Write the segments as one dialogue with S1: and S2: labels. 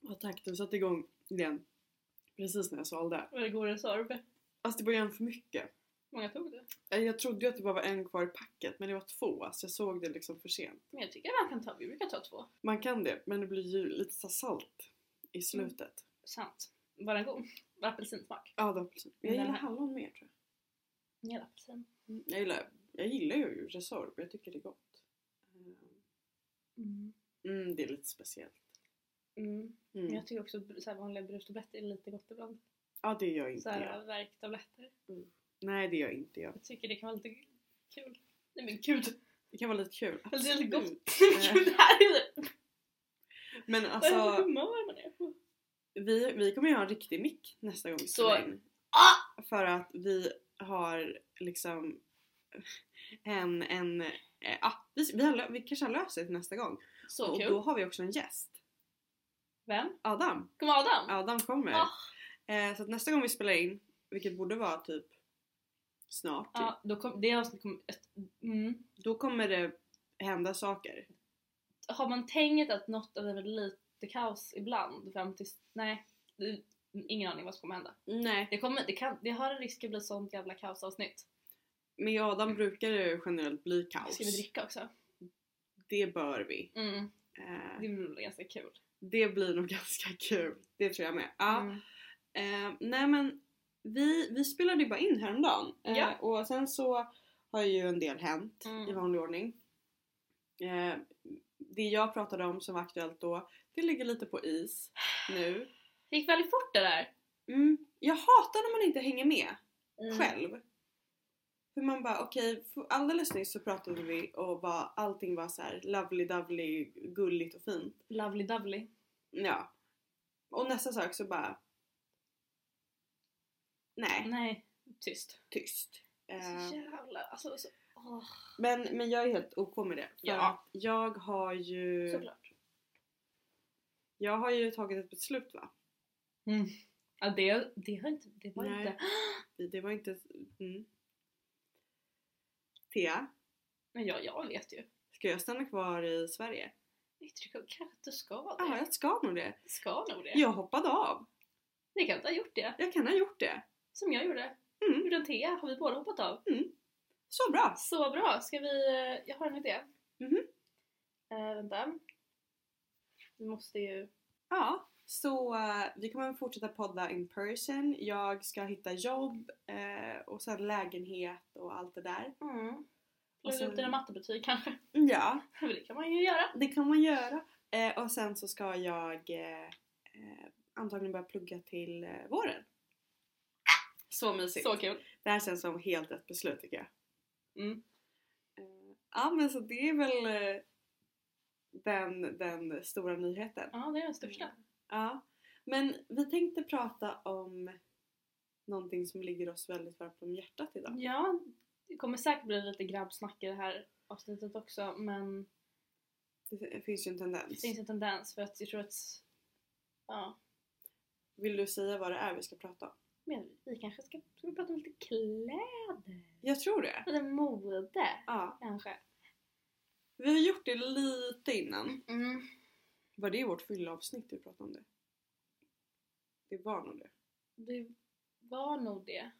S1: Ja, tack, du satte igång igen. Precis när jag svalde.
S2: Var det godare Sorb?
S1: Alltså det var ju en för mycket.
S2: många tog du?
S1: Eh, Jag trodde ju att det bara var en kvar i packet men det var två. Alltså jag såg det liksom för sent.
S2: Men jag tycker man kan ta, vi brukar ta två.
S1: Man kan det men det blir ju lite så här salt i slutet.
S2: Sant. Var den god? Var apelsinsmak?
S1: Ja, det var apelsin. Men Jag
S2: Den
S1: gillar
S2: här-
S1: hallon mer tror
S2: Mer apelsin.
S1: jag. Mm, Jag gillar, jag gillar ju Resorb. Jag tycker det är gott. Eh,
S2: Mm.
S1: Mm, det är lite speciellt.
S2: Mm. Men
S1: Mm.
S2: jag tycker också br- så här vanliga brustabletter är lite gott ibland.
S1: Ja, det gör inte
S2: Så här
S1: jag.
S2: värktabletter.
S1: Nej, det gör inte jag.
S2: Jag tycker det kan vara lite kul. Nej men gud!
S1: Det kan vara lite kul.
S2: Det är lite
S1: Absolut.
S2: gott. Gud, det här är det.
S1: Men
S2: Vad är det för
S1: alltså,
S2: humör man är på?
S1: vi, vi kommer ju ha en riktig mick nästa gång. vi
S2: Så- Ah!
S1: spelar in. För att vi har liksom en... en eh, ja, vi, vi, har, lö- vi kanske har löst det till nästa gång.
S2: Så
S1: och
S2: kul.
S1: då har vi också en gäst.
S2: Vem?
S1: Adam.
S2: Kom Adam?
S1: Adam kommer.
S2: Ah.
S1: Eh, så att nästa gång vi spelar in, vilket borde vara typ snart,
S2: Ja, då kom, det avsnittet kommer... ett- Mm.
S1: då kommer det hända saker.
S2: Har man tänkt att något av det är väl lite kaos ibland fram tills... Nej. det- Ingen aning vad som kommer hända.
S1: Nej.
S2: Det, kommer, det, kan, det har en risk att bli sånt jävla kaosavsnitt.
S1: Med Adam brukar det generellt bli kaos.
S2: Ska vi dricka också?
S1: Det bör vi.
S2: Mm.
S1: Eh,
S2: Det blir väl ganska kul.
S1: Det blir nog ganska kul. Det tror jag med. Ah. Ja.
S2: Mm.
S1: Eh, nej men vi, vi spelade ju bara in häromdagen. Eh,
S2: Ja.
S1: Och sen så har ju en del hänt
S2: Mm.
S1: i vanlig ordning. Eh, det jag pratade om som var aktuellt då, det ligger lite på is nu.
S2: Det gick väldigt fort det där.
S1: Mm. Jag hatar när man inte hänger med
S2: Mm.
S1: själv. För man bara okej, för alldeles nyss så pratade vi och bara, allting var så här lovely dovely, gulligt och fint.
S2: Lovely dovely.
S1: Ja. Och nästa sak så bara... Nej,
S2: Nej, tyst.
S1: tyst. Eh,
S2: Så jävla... Alltså, så, åh,
S1: men, men jag är helt OK med det. För
S2: Ja.
S1: att jag har ju...
S2: såklart.
S1: Jag har ju tagit ett beslut va?
S2: Ja, det, det, har inte, det var
S1: Nej.
S2: inte...
S1: Det var inte... Mm. Thea,
S2: Men jag, jag vet ju.
S1: ska jag stanna kvar i Sverige?
S2: Jag tycker kanske att du ska det.
S1: Ja, jag ska nog det.
S2: Du ska nog det.
S1: Jag hoppade av.
S2: Ni kan inte ha gjort det.
S1: Jag kan ha gjort det.
S2: Som jag gjorde.
S1: Mm.
S2: Gjorde en te har vi båda hoppat av.
S1: Så bra!
S2: Så bra, ska vi... eh, Jag har en idé.
S1: Mhm.
S2: Eh, vänta. Vi måste ju...
S1: Ja, så eh, vi kommer fortsätta podda in person. Jag ska hitta jobb eh, och sen lägenhet och allt det där.
S2: Mm.
S1: Och
S2: Lägga
S1: sen-
S2: ut dina mattebetyg kanske.
S1: Ja,
S2: Men det kan man ju göra.
S1: det kan man göra. Eh, och sen så ska jag eh, eh, antagligen börja plugga till eh, våren. Så mysigt.
S2: Så kul.
S1: Det här känns som helt rätt beslut tycker jag.
S2: Mm.
S1: Eh, ja men så det är väl eh, den, den stora nyheten.
S2: Ja, det är den största.
S1: Ja, men vi tänkte prata om någonting som ligger oss väldigt varmt om hjärtat idag.
S2: Ja, det kommer säkert bli lite grabbsnack i det här avsnittet också men
S1: Det finns ju en
S2: det
S1: tendens.
S2: finns en tendens för att jag tror att ja,
S1: Vill du säga vad det är vi ska prata om?
S2: men vi kanske ska, ska vi prata om lite kläder?
S1: Jag tror det.
S2: Lite mode
S1: Ja.
S2: kanske?
S1: Vi har gjort det lite innan.
S2: Mm.
S1: Var det i vårt fyllavsnitt vi pratade om det? Det var nog det.
S2: Det var nog det.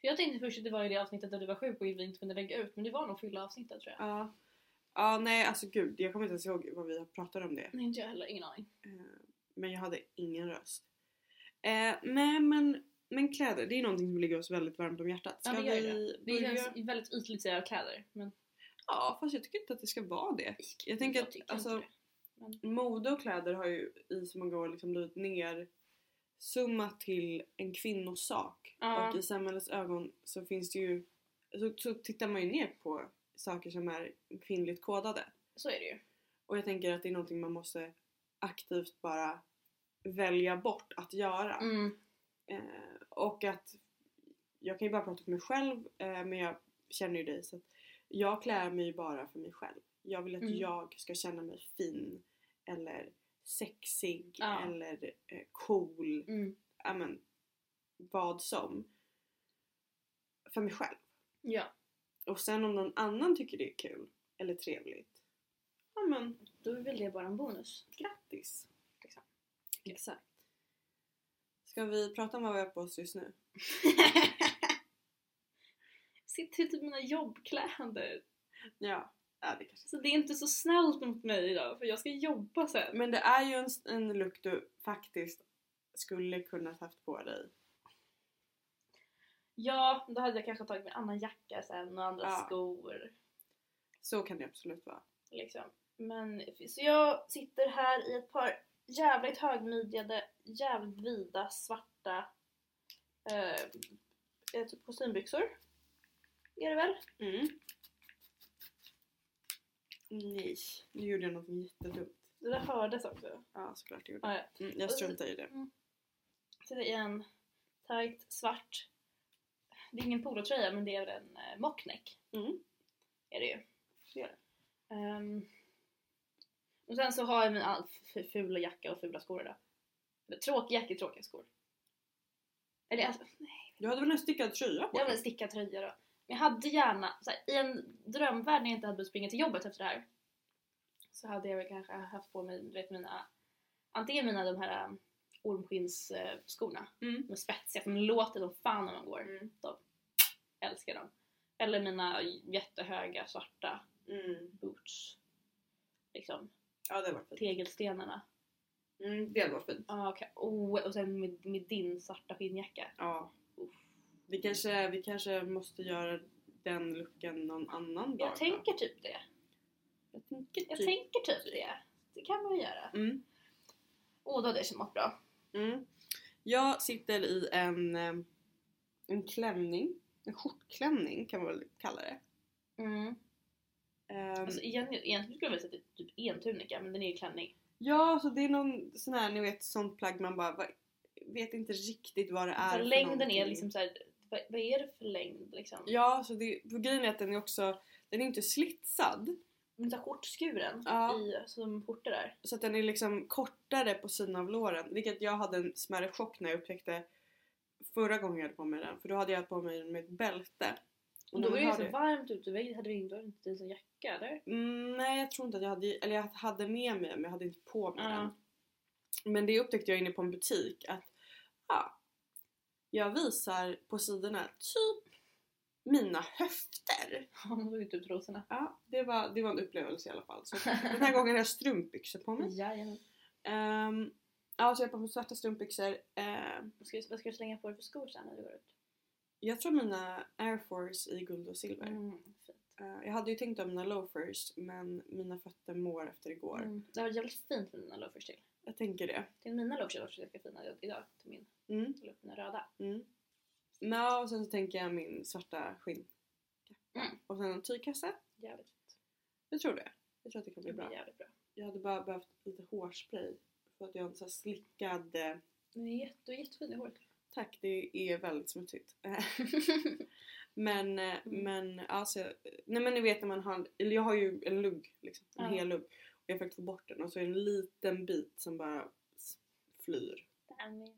S2: För jag tänkte först att det var i det avsnittet där du var sjuk och vi inte kunde lägga ut men det var nog fylla avsnittet tror jag.
S1: Ja. Ja, nej alltså gud. Jag kommer inte ens ihåg vad vi pratade om det.
S2: Nej inte jag heller, ingen aning.
S1: Eh, Men jag hade ingen röst. Eh, nej men, men kläder, det är någonting som ligger oss väldigt varmt om hjärtat.
S2: Ja,
S1: Ska
S2: det gör ju
S1: vi
S2: Det
S1: börja?
S2: känns väldigt ytligt att säga kläder men
S1: Ja, fast jag tycker inte att det ska vara det. Jag tänker att,
S2: tycker
S1: alltså-
S2: inte det.
S1: Mode och kläder har ju i så många år liksom blivit ner summat till en kvinnosak.
S2: Ja.
S1: Och i samhällets ögon så finns det ju... Så, så tittar man ju ner på saker som är kvinnligt kodade.
S2: Så är det ju.
S1: Och jag tänker att det är någonting man måste aktivt bara välja bort att göra.
S2: Mm.
S1: Eh, och att jag kan ju bara prata för mig själv eh, men jag känner ju dig så att jag klär mig ju bara för mig själv. Jag vill att
S2: Mm.
S1: jag ska känna mig fin eller sexig
S2: Ja.
S1: eller eh, cool.
S2: Mm.
S1: Ja men vad som. För mig själv.
S2: Ja.
S1: Och sen om någon annan tycker det är kul eller trevligt. Ja men
S2: Då är väl det bara en bonus.
S1: grattis.
S2: Liksom.
S1: Ska vi prata om vad vi har på oss just nu?
S2: Sitter i typ mina jobbkläder.
S1: Ja, ja det kanske.
S2: Så det är inte så snällt mot mig idag för jag ska jobba sen.
S1: Men det är ju en, en look du faktiskt skulle kunnat haft på dig.
S2: Ja, då hade jag kanske tagit mig annan jacka sen och andra
S1: Ja.
S2: skor.
S1: Så kan det absolut vara.
S2: Liksom. Men, så jag sitter här i ett par jävligt högmidjade, jävligt vida, svarta eh, eh, typ kostymbyxor. Är det väl?
S1: Mm. Nej, nu gjorde jag något jättedumt.
S2: Det där hördes också.
S1: Ja, såklart jag gjorde.
S2: Ja, ja.
S1: Mm, jag struntar i det.
S2: Sitter i en tight svart, det är ingen polotröja men det är en eh, mockneck.
S1: Mm.
S2: Är det ju.
S1: Det är det.
S2: Ehm, och sen så har jag min all- f- fula jacka och fula skor idag. Eller Tråkig jacka, tråkiga skor. Eller alltså,
S1: Du hade väl en stickad tröja på
S2: jag vill
S1: dig?
S2: sticka tröja då. Men jag hade gärna, så här, i en drömvärld när jag inte hade behövt springa till jobbet efter det här. Så hade jag väl kanske haft på mig, du vet mina, antingen mina de här um, ormskinnsskorna.
S1: Mm.
S2: De är spetsiga, för de låter som fan när man går. Jag älskar dem. Eller mina jättehöga svarta
S1: Mm.
S2: boots. Liksom,
S1: Ja, det var fint.
S2: tegelstenarna.
S1: Mm, det var fint.
S2: Ja, okej. oh, och sen med, med din svarta skinnjacka.
S1: Ja. Vi kanske, vi kanske måste göra den looken någon annan dag.
S2: Jag tänker typ det.
S1: jag tänker
S2: Jag
S1: typ-
S2: tänker typ det. Det kan man ju göra.
S1: Mm.
S2: Åh, då hade jag mått bra.
S1: Mm. Jag sitter i en, eh, en klänning. En skjortklänning kan man väl kalla det.
S2: Mm.
S1: Ehm,
S2: Alltså, egentligen, egentligen skulle jag vilja säga typ- typ entunika, men den är ju klänning.
S1: ja, så det är någon sån här, ni vet, sånt plagg man bara va, vet inte riktigt vad det är
S2: Så
S1: för
S2: längden är
S1: någonting.
S2: liksom såhär, vad, vad är det för längd liksom?
S1: Ja, så det, för grejen är att den är också, den är inte slitsad.
S2: Men så här skjortskuren,
S1: Ja.
S2: i, alltså, som skjortor där.
S1: Så att den är liksom kortare på sidan av låren. Vilket jag hade en smärre chock när jag upptäckte förra gången jag hade på mig den. För då hade jag på mig den med ett bälte.
S2: Och då
S1: när
S2: var
S1: man
S2: det ju
S1: har
S2: så varmt ute, vi hade ringt, inte ens en jacka eller?
S1: Mm, nej jag tror inte att jag hade, eller jag hade med mig men jag hade inte på mig
S2: Ja.
S1: den. Men det upptäckte jag inne på en butik att ja, jag visar på sidorna typ mina höfter.
S2: Ja, de såg ut typ trosorna.
S1: Ja, det var, det var en upplevelse i alla fall. Så den här gången har jag strumpbyxor på mig.
S2: Jajamän.
S1: Ehm, ja, så jag har på mig svarta strumpbyxor. Ehm,
S2: Vad ska, du- vad ska du slänga på dig för skor sen när du går ut?
S1: jag tror mina Air Force i guld och silver.
S2: Mm, fint.
S1: Ehm, jag hade ju tänkt om mina loafers men mina fötter mår efter igår.
S2: Mm. Det var jävligt fint med dina loafers till.
S1: Jag tänker det.
S2: Till mina loafers var ganska fina idag till min.
S1: Mm.
S2: Jag la upp mina röda.
S1: Mm. Ja, och sen så tänker jag min svarta skinn.
S2: Mm.
S1: Och sen en tygkasse.
S2: Jävligt fint.
S1: Jag tror det. Jag tror att det kan
S2: Det
S1: bli
S2: blir
S1: bra.
S2: jävligt bra.
S1: Jag hade bara behövt lite hårspray. För att jag har en sån här slickad... eh,
S2: Men det är jätte, du är jättefin i håret.
S1: Tack, det är väldigt smutsigt. men, eh,
S2: Mm.
S1: men alltså... Nej men ni vet när man har... Eller jag har ju en lugg liksom. En
S2: Ja.
S1: hel lugg. Och jag fick få bort den och så är det en liten bit som bara s- flyr.
S2: Där med.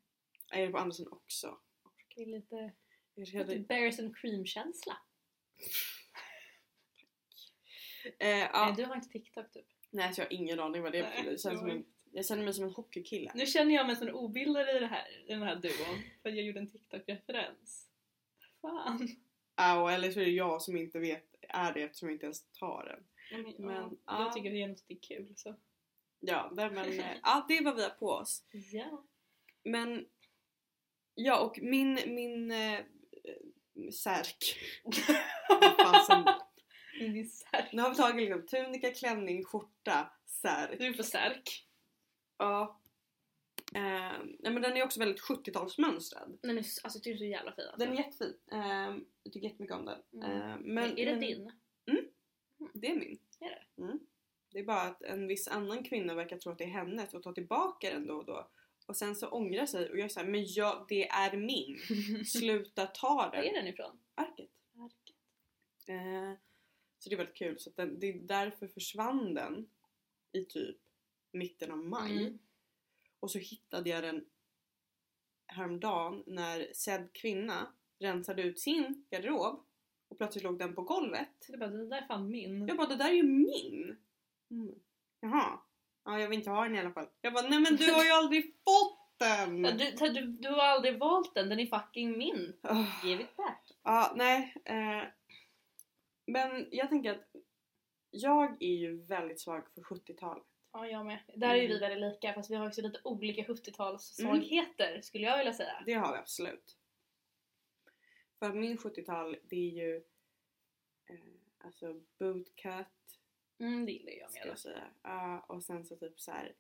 S1: Jag är det på andra sidan också.
S2: det är lite,
S1: Jag
S2: lite
S1: hade,
S2: bears and cream känsla.
S1: eh, ja.
S2: Nej, du har inte TikTok typ.
S1: Nej så jag har ingen aning vad det är för
S2: Nej,
S1: det känns
S2: det var
S1: som en, Jag känner mig som en hockeykille.
S2: Nu känner jag mig som en obildare i, det här, i den här duon. För jag gjorde en TikTok-referens. Fan.
S1: Ja, och eller så är det jag som inte vet är det eftersom jag inte ens tar den.
S2: Men,
S1: Men,
S2: ja,
S1: ja.
S2: Jag tycker det är något det är kul så.
S1: Ja, nej, men eh, ja, det är vad vi har på oss.
S2: Ja.
S1: Men ja, och min, min eh, eh, särk. Vad fan som-
S2: Men det är särk.
S1: nu har vi tagit liksom tunika, klänning, skjorta, särk.
S2: Du är på särk.
S1: Ja. Eh, nej, men den är också väldigt 70-talsmönstrad.
S2: Den är, alltså, du är så jävla fin. Alltså.
S1: Den är jättefin. Eh, jag tycker jättemycket om den.
S2: Mm.
S1: Eh, men,
S2: är det
S1: men,
S2: din?
S1: Det är min.
S2: Är det?
S1: Mm. Det är bara att en viss annan kvinna verkar tro att det är hennes och tar tillbaka den då och då. Och sen så ångrar sig och jag säger men jag, det är min. Sluta ta
S2: Var är
S1: den.
S2: den ifrån?
S1: Arket. Eh, så det är väldigt kul. Så att den, det är därför försvann den i typ mitten av maj.
S2: Mm.
S1: Och så hittade jag den häromdagen när sedd kvinna rensade ut sin garderob och plötsligt låg den på golvet.
S2: Det, är bara, det där är fan min.
S1: Jag bara, det där är ju min! Mm. Jaha. Ja, jag vill inte ha den i alla fall. Jag bara, nej men du har ju aldrig fått den!
S2: Ja, Du, du, du har aldrig valt den, den är fucking min.
S1: Åh.
S2: Give it back.
S1: Ah. Ja, nej. Eh, men jag tänker att jag är ju väldigt svag för 70-talet.
S2: Ja, jag med. Där är ju vi
S1: Mm.
S2: väldigt lika fast vi har också lite olika 70-talssvagheter skulle jag vilja säga.
S1: Det har vi absolut. För att min 70-tal, det är ju eh, alltså bootcut,
S2: Mm, det gillar jag
S1: ska
S2: med.
S1: jag säga. Ja, och sen så typ så här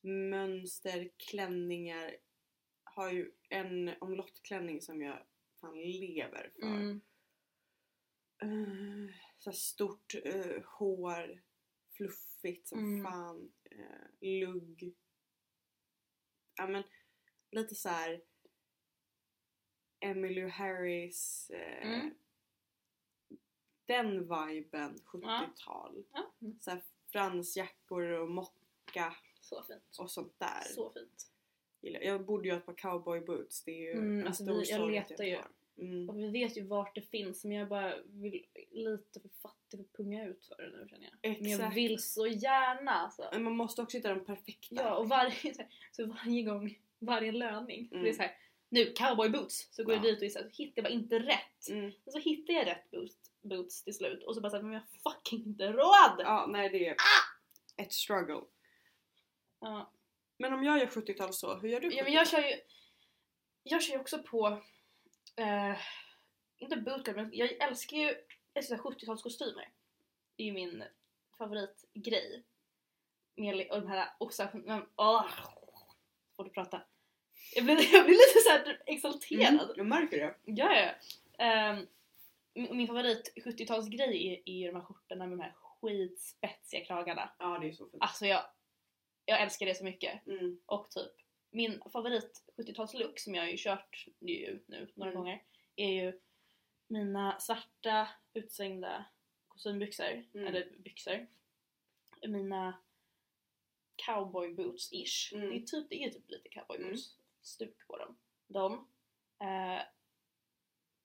S1: mönster, klänningar. Har ju en omlottklänning som jag fan lever för.
S2: Mm.
S1: Eh, så här stort eh, hår, fluffigt som
S2: Mm.
S1: fan, eh, lugg. Ja men lite så här Emily Harris, eh,
S2: Mm.
S1: den viben 70-tal.
S2: Ja, mm.
S1: Så här fransjackor och mocka
S2: Så fint.
S1: och sånt där.
S2: Så fint.
S1: Gillar Jag Jag borde ju ha ett par cowboy boots, det är ju
S2: Mm,
S1: en
S2: alltså
S1: stor
S2: vi- jag
S1: sorg att inte
S2: letar ju.
S1: har. Mm.
S2: Och vi vet ju vart det finns men jag bara vill lite för fattig för att punga ut för det nu känner jag. Men jag
S1: Exakt.
S2: vill så gärna alltså.
S1: Men man måste också hitta den perfekta.
S2: Ja och varje, så här- så varje gång, varje löning.
S1: Mm.
S2: Det är så här, nu cowboy boots! Så går jag
S1: Ja.
S2: dit och är så här, så hittar jag bara inte rätt.
S1: Mm.
S2: Och så hittar jag rätt boots, boots till slut och så bara såhär, men jag har fucking inte råd!
S1: Ja, nej det är
S2: Ah!
S1: ett struggle.
S2: Ja.
S1: Men om jag gör 70-tal så, hur gör du?
S2: Ja men jag kör ju Jag kör ju också på eh, Inte bootcut men jag älskar ju jag älskar 70-talskostymer Det är ju min favoritgrej Med li- och de här och så, men, åh, Får du prata? Jag blir, jag blir lite såhär exalterad
S1: Mm, jag märker det.
S2: Ja, ja. Ehm, min, min favorit 70-talsgrej är, är ju de här skjortorna med de här skitspetsiga kragarna
S1: Ja, det är så fint.
S2: Alltså jag, jag älskar det så mycket
S1: Mm.
S2: och typ min favorit 70-talslook som jag har ju kört ju nu några
S1: Mm.
S2: gånger är ju mina svarta utsvängda kostymbyxor,
S1: Mm.
S2: eller byxor. Mina cowboy boots-ish.
S1: Mm.
S2: Det, är typ, det är typ lite cowboy
S1: Mm.
S2: boots stuk på dem. De. Eh,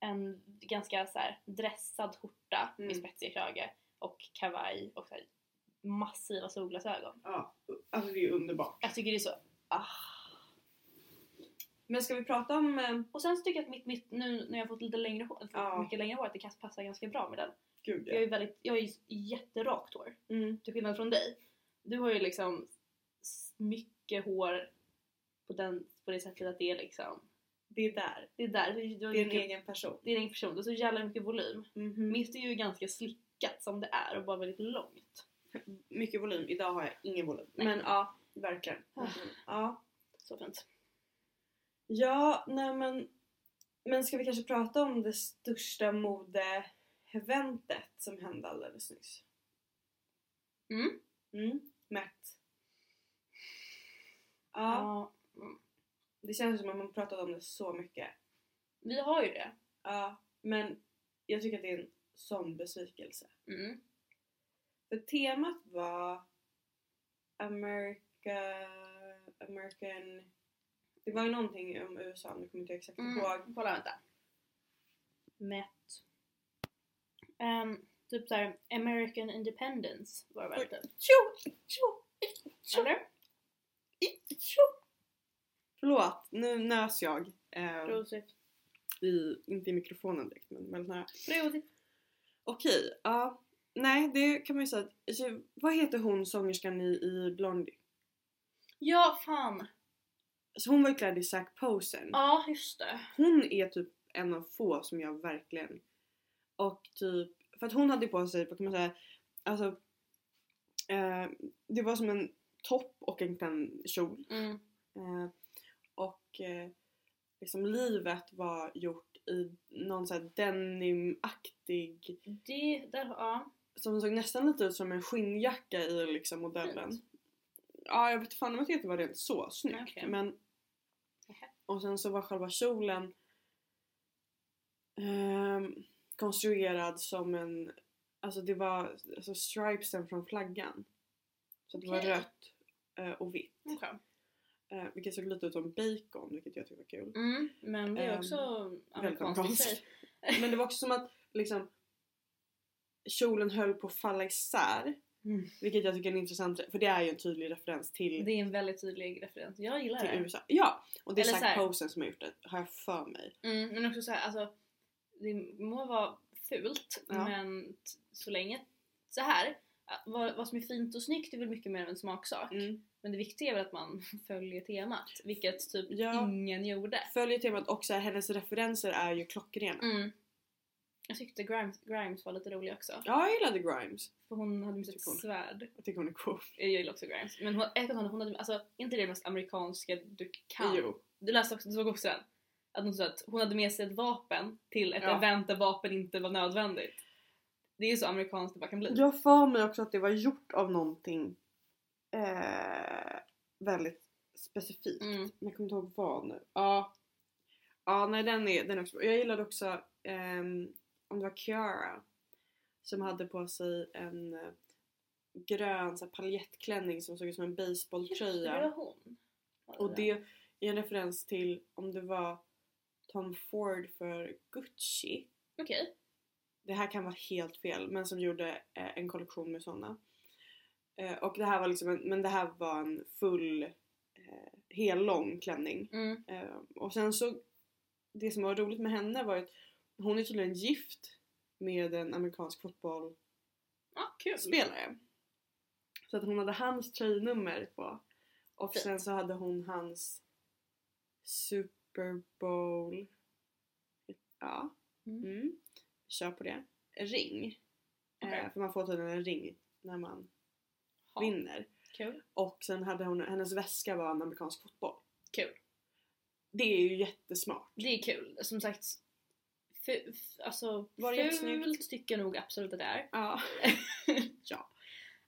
S2: en ganska så här dressad skjorta med
S1: Mm.
S2: spetsig krage och kavaj och så här massiva solglasögon.
S1: Ja, alltså det är ju underbart.
S2: Jag tycker det är så... Ah.
S1: Men ska vi prata om... eh,
S2: Och sen så tycker jag att mitt, mitt nu när jag har fått lite längre hår,
S1: Ja.
S2: mycket längre hår, att det kan passa ganska bra med den.
S1: Gud
S2: Jag
S1: ja.
S2: är väldigt, jag är ju jätterakt hår.
S1: Mm.
S2: Till skillnad från dig. Du har ju liksom s- mycket hår på, den, på det sättet att det är liksom,
S1: Det är där.
S2: det är där. Du, du har
S1: Det är en
S2: mycket,
S1: egen person.
S2: det är din person, du har så jävla mycket volym.
S1: Mhm.
S2: Mitt är ju ganska slickat som det är och bara väldigt långt.
S1: Mycket volym. Idag har jag ingen volym.
S2: Nej.
S1: Men ja, verkligen. Mm,
S2: Ah.
S1: Ja.
S2: Så fint.
S1: ja, nej men... Men ska vi kanske prata om det största modeeventet som hände alldeles nyss?
S2: Mm.
S1: Mm. Mätt. ja.
S2: Ja.
S1: Det känns som att man pratat om det så mycket.
S2: Vi har ju det.
S1: Ja, men jag tycker att det är en sån besvikelse.
S2: Mm.
S1: För temat var America... American... Det var ju någonting om USA, nu kommer inte jag exakt
S2: Mm.
S1: ihåg.
S2: Kolla vänta. Mätt. Ehm, typ såhär American Independence var det väl typ?
S1: Tjo, tjo, tjo,
S2: Eller?
S1: tjo. Förlåt, nu nös jag. Eh,
S2: Prosit.
S1: i, inte i mikrofonen direkt, men väldigt nära.
S2: Prosit.
S1: Okej, ja. Nej, det kan man ju säga. att- Alltså, vad heter hon sångerskan i, i Blondie?
S2: Ja fan!
S1: Så hon var ju klädd i Zac Posen.
S2: Ja just det.
S1: Hon är typ en av få som jag verkligen... Och typ... För att hon hade på sig, vad kan man säga, alltså... Eh, det var som en topp och en liten kjol.
S2: Mm.
S1: Eh, och eh, liksom livet var gjort i någon sån här denimaktig...
S2: Det där, ja.
S1: Som såg nästan lite ut som en skinnjacka i liksom modellen.
S2: Fint.
S1: Ja, jag vet fan om att det inte var rent så snyggt.
S2: Okej.
S1: Men...
S2: Nähä.
S1: Och sen så var själva kjolen ehm, konstruerad som en... Alltså det var alltså stripesen från flaggan. Så det var
S2: Okej.
S1: rött eh, och vitt.
S2: Okej.
S1: Eh, vilket såg lite ut som bacon, vilket jag tyckte var kul.
S2: Mm. Men det är också
S1: Väldigt
S2: amerikanskt i sig.
S1: Men det var också som att liksom kjolen höll på att falla isär.
S2: Mm.
S1: Vilket jag tycker är en intressant, för det är ju en tydlig referens till,
S2: Det är en väldigt tydlig referens. Jag gillar
S1: till
S2: det.
S1: USA. Ja! Och det är
S2: Eller så
S1: Zac
S2: här-
S1: Posen som har gjort det, har jag för mig.
S2: Mm, men också så här, alltså det må vara fult
S1: Ja.
S2: men t- så länge så här vad, vad som är fint och snyggt är väl mycket mer av en smaksak.
S1: Mm.
S2: Men det viktiga är väl att man följer temat, vilket typ
S1: Ja.
S2: ingen gjorde.
S1: Följer temat och så här, hennes referenser är ju klockrena.
S2: Mm. Jag tyckte Grimes, Grimes var lite rolig också.
S1: Ja, jag gillade Grimes.
S2: För hon hade med sig ett
S1: Tycker hon.
S2: svärd.
S1: Jag tycker hon är cool.
S2: Jag gillar också Grimes. Men hon, jag vet inte, hon hade, alltså, inte det mest amerikanska du kan.
S1: Jo.
S2: Du läste också, du såg också den? Att hon sa att hon hade med sig ett vapen till ett
S1: Ja.
S2: event där vapen inte var nödvändigt. Det är ju så amerikanskt det bara kan bli.
S1: Jag har för mig också att det var gjort av någonting eh, väldigt specifikt.
S2: Mm.
S1: Men jag kommer inte ihåg vad nu. Ja. Ja nej den är, den är också bra. Jag gillade också ehm, om det var Kiara som hade på sig en eh, grön så här, paljettklänning som såg ut som en
S2: Just det, det var
S1: baseballtröja.
S2: hon.
S1: Och det är en referens till om det var Tom Ford för Gucci.
S2: Okej.
S1: Det här kan vara helt fel men som gjorde eh, en kollektion med sådana. Eh, och det här var liksom en, men det här var en full eh, hel lång klänning.
S2: Mm.
S1: Eh, och sen så det som var roligt med henne var att hon är tydligen gift med en amerikansk fotbollsspelare.
S2: Ja, kul.
S1: Så att hon hade hans tröjnummer på. Och
S2: Fint.
S1: sen så hade hon hans Super Bowl. Ja.
S2: Mm.
S1: Mm. Kör på det. Ring.
S2: Okej.
S1: Eh, för man får tydligen en ring när man
S2: Ja,
S1: vinner.
S2: Kul.
S1: Och sen hade hon, hennes väska var en amerikansk fotboll.
S2: Kul.
S1: Det är ju jättesmart.
S2: Det är kul. Som sagt, fu- f- alltså
S1: Var det jättesnyggt?
S2: fult tycker jag nog absolut att det är.
S1: Ja.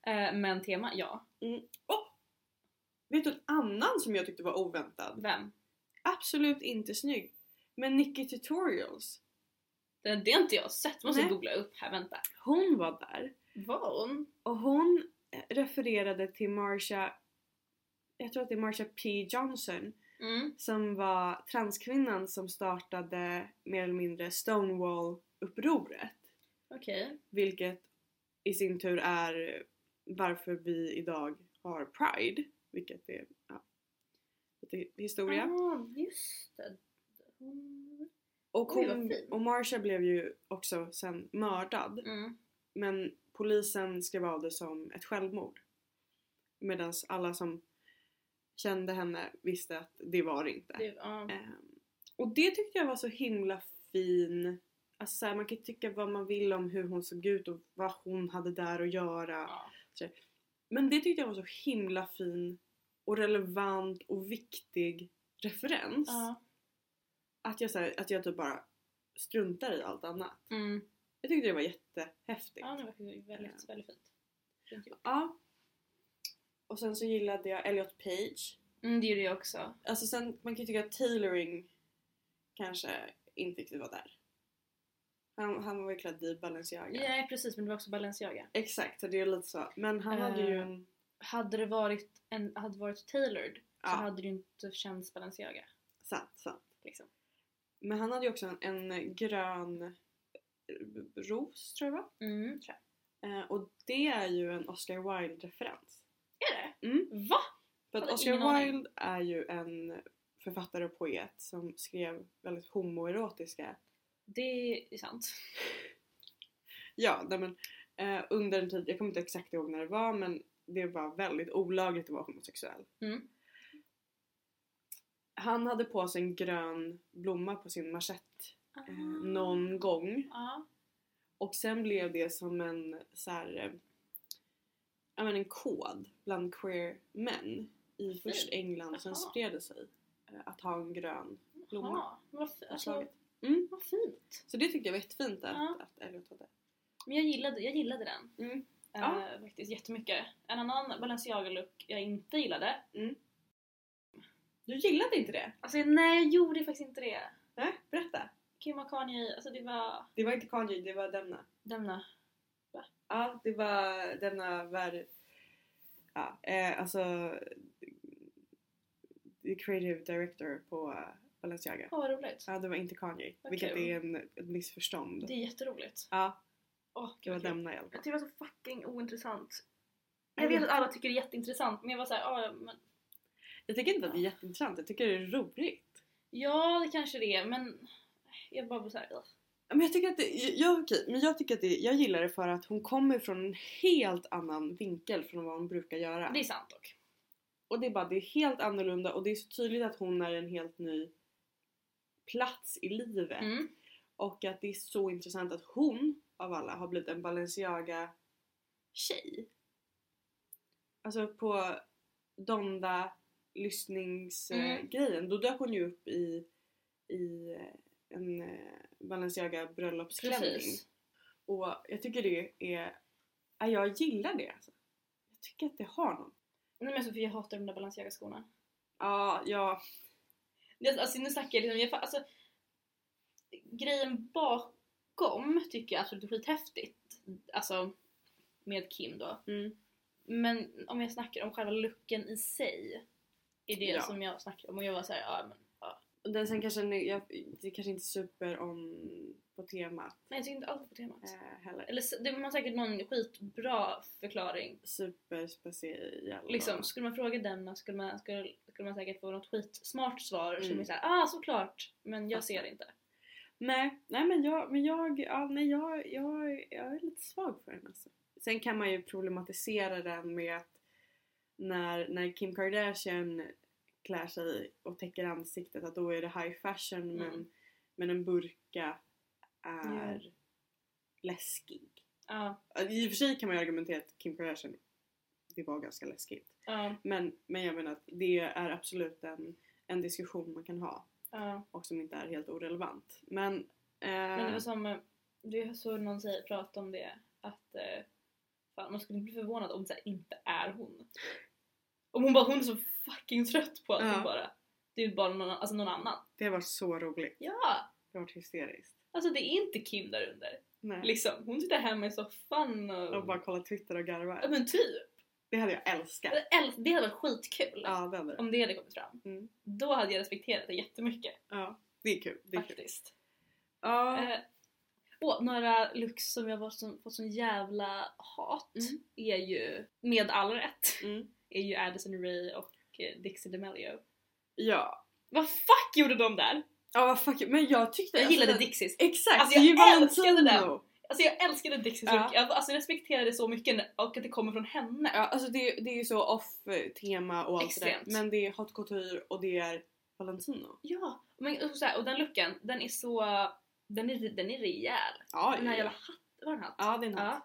S2: Eh, Men tema, ja.
S1: Vet du en annan som jag tyckte var oväntad?
S2: Vem?
S1: Absolut inte snygg. Men Nicky Tutorials.
S2: Det, det har inte jag sett. Måste
S1: Nej.
S2: googla upp här, vänta.
S1: Hon var där.
S2: Var hon?
S1: Och hon eh, refererade till Marsha, jag tror att det är Marsha P Johnson.
S2: Mm.
S1: Som var transkvinnan som startade mer eller mindre Stonewall-upproret.
S2: Okej.
S1: Vilket i sin tur är varför vi idag har Pride. Vilket är ja, lite historia.
S2: Ja, Ah, just det. Hon...
S1: Och,
S2: Oj, vad
S1: hon,
S2: fint.
S1: och Marsha blev ju också sen mördad.
S2: Mm.
S1: Men polisen skrev av det som ett självmord. Medan alla som kände henne visste att det var det inte.
S2: Det, ja.
S1: Ehm, och det tyckte jag var så himla fin. Alltså så här, man kan ju tycka vad man vill om hur hon såg ut och vad hon hade där att göra.
S2: Ja.
S1: Men det tyckte jag var så himla fin och relevant och viktig referens.
S2: Ja.
S1: Att, jag, så här, att jag typ bara struntar i allt annat.
S2: Mm.
S1: Jag tyckte det var jättehäftigt.
S2: ja, det var ju väldigt, väldigt fint. Fint gjort.
S1: Ja. Och sen så gillade jag Elliot Page.
S2: Mm, det gjorde jag också.
S1: Alltså sen, man kan ju tycka att tailoring kanske inte riktigt var där. Han, han var ju klädd i Balenciaga.
S2: Nej precis, men det var också Balenciaga.
S1: Exakt, så det är lite så. Men han hade
S2: Eh.
S1: ju en...
S2: Hade det varit, en, hade varit tailored
S1: Ja,
S2: så hade det ju inte känts Balenciaga.
S1: sant, sant.
S2: Liksom.
S1: Men han hade ju också en, en grön eh, ros tror jag va?
S2: Mm, tror
S1: Eh, och det är ju en Oscar Wilde-referens.
S2: jag. Är det?
S1: Mm.
S2: Va?
S1: För att
S2: Hade
S1: Oscar
S2: ingen aning.
S1: Wilde är ju en författare och poet som skrev väldigt homoerotiska
S2: Det är sant.
S1: Ja, nej men eh, under en tid, jag kommer inte exakt ihåg när det var men det var väldigt olagligt att vara homosexuell.
S2: Mm.
S1: Han hade på sig en grön blomma på sin manschett eh, någon gång
S2: Ah. Ja.
S1: och sen blev det som en så här, eh, ja men en kod bland queer män i först England och sen
S2: Jaha.
S1: spred det sig eh, att ha en grön blomma.
S2: Ja, men vad, fi-
S1: på
S2: alltså,
S1: slaget. Mm.
S2: vad fint.
S1: Så det tyckte jag var jättefint att,
S2: Ja.
S1: att Elliot hade.
S2: Men jag gillade, jag gillade den.
S1: Mm.
S2: Eh,
S1: Ja.
S2: faktiskt jättemycket. En annan Balenciaga-look jag inte gillade.
S1: Du gillade inte det?
S2: Alltså nej, jag gjorde faktiskt inte det.
S1: Nej, berätta.
S2: Kim och Kanye, alltså det var...
S1: Det var inte Kanye, det var Demna.
S2: Demna.
S1: Ja, det var denna värld. Ja, eh, alltså... The creative director på eh, Balenciaga.
S2: Åh vad roligt.
S1: Ja, det var inte Kanye.
S2: Vad
S1: vilket
S2: kul.
S1: är en, ett missförstånd.
S2: Det är jätteroligt.
S1: Ja,
S2: Åh,
S1: det var Demna i alla fall.
S2: Jag tycker det var så fucking ointressant. Jag
S1: Mm.
S2: vet att alla tycker det är jätteintressant men jag var såhär, ah, men...
S1: Jag tycker inte att det är jätteintressant, jag tycker det är roligt.
S2: ja det kanske det är men jag bara blir såhär, "Ugh."
S1: Ja, Men jag tycker att det, ja, okej, men jag tycker att det, jag gillar det för att hon kommer från en helt annan vinkel från vad hon brukar göra.
S2: det är sant dock.
S1: Och det är bara, det är helt annorlunda och det är så tydligt att hon är en helt ny plats i livet.
S2: Mm.
S1: Och att det är så intressant att hon av alla har blivit en Balenciaga tjej. Alltså på Donda lyssningsgrejen.
S2: Mm.
S1: Då dök hon ju upp i, i eh, en eh, Balenciaga bröllopsklänning.
S2: Precis.
S1: Och jag tycker det är... ja, Jag gillar det alltså. Jag tycker att det har något.
S2: Nej men Sofia jag hatar de där Balenciaga-skorna.
S1: Ja, ja.
S2: Det- Alltså nu snackar jag liksom, jag, fa- alltså, grejen bakom tycker jag absolut är skithäftigt. Alltså med Kim då.
S1: Mm.
S2: Men om jag snackar om själva looken i sig. Är det
S1: Ja.
S2: som jag snackar om och jag var såhär, ja men ja.
S1: Och den sen kanske, ni- jag, det kanske inte är super om på temat
S2: Nej jag tycker inte alls på temat.
S1: eh, heller.
S2: alltså. Eller så- det var säkert någon skitbra förklaring.
S1: superspeciell.
S2: Liksom, skulle man fråga den skulle man, skulle, skulle man säkert få något skitsmart svar som
S1: Mm.
S2: är såhär ah såklart men jag ser det inte.
S1: Nej, nej men jag, men jag, ja, nej, jag, jag, jag är lite svag för den alltså. Sen kan man ju problematisera den med att när, när Kim Kardashian klär sig och täcker ansiktet att då är det high fashion men,
S2: Mm.
S1: men en burka är läskig. Alltså,
S2: Ja,
S1: I och för sig kan man ju argumentera att Kim Kardashian det var ganska läskigt.
S2: ja,
S1: Men, men jag menar att det är absolut en, en diskussion man kan ha.
S2: ja.
S1: och som inte är helt orelevant. Men, eh,
S2: Men det var som, eh, det såg någon säga, prata om det att eh, fan, man skulle inte bli förvånad om det så här inte är hon. Om hon bara, hon är så fucking trött på allting
S1: Ja.
S2: bara. Det är ju bara någon, alltså någon annan.
S1: det var så roligt.
S2: Ja!
S1: Det var hysteriskt.
S2: Alltså det är inte Kim där under.
S1: Nej.
S2: Liksom, hon sitter hemma i soffan och...
S1: Och bara kolla Twitter och
S2: Ja
S1: garva.
S2: men typ.
S1: Det hade jag älskat.
S2: Jag äls- Det hade varit skitkul
S1: Ja, det hade det.
S2: om det hade kommit fram.
S1: Mm.
S2: Då hade jag respekterat det jättemycket
S1: Ja, det är kul. Det är kul.
S2: faktiskt.
S1: Ja,
S2: Eh, åh, några looks som jag var som, fått sån jävla hat
S1: Mm.
S2: är ju, med all rätt,
S1: mm.
S2: är ju Addison Rae och eh, Dixie DeMelio.
S1: ja.
S2: Vad fuck gjorde de där?
S1: Ja, vad fuck. Men jag tyckte...
S2: Jag gillade
S1: alltså,
S2: Dixies.
S1: Exakt!
S2: Alltså,
S1: det är ju
S2: jag älskade
S1: Valentino.
S2: Alltså jag älskade Dixies
S1: Ja.
S2: look. Jag alltså, jag respekterade det så mycket när- och att det kommer från henne.
S1: Ja, alltså det, det är ju så off-tema och allt det där.
S2: Extremt.
S1: Men det är haute couture och det är Valentino.
S2: Ja, men, och, så här, och den looken, den är så... Den är, den är rejäl.
S1: Ja,
S2: Den här
S1: ja,
S2: jävla
S1: ja.
S2: hatten, var det en hatt?
S1: ja det är en hatt.
S2: Ja.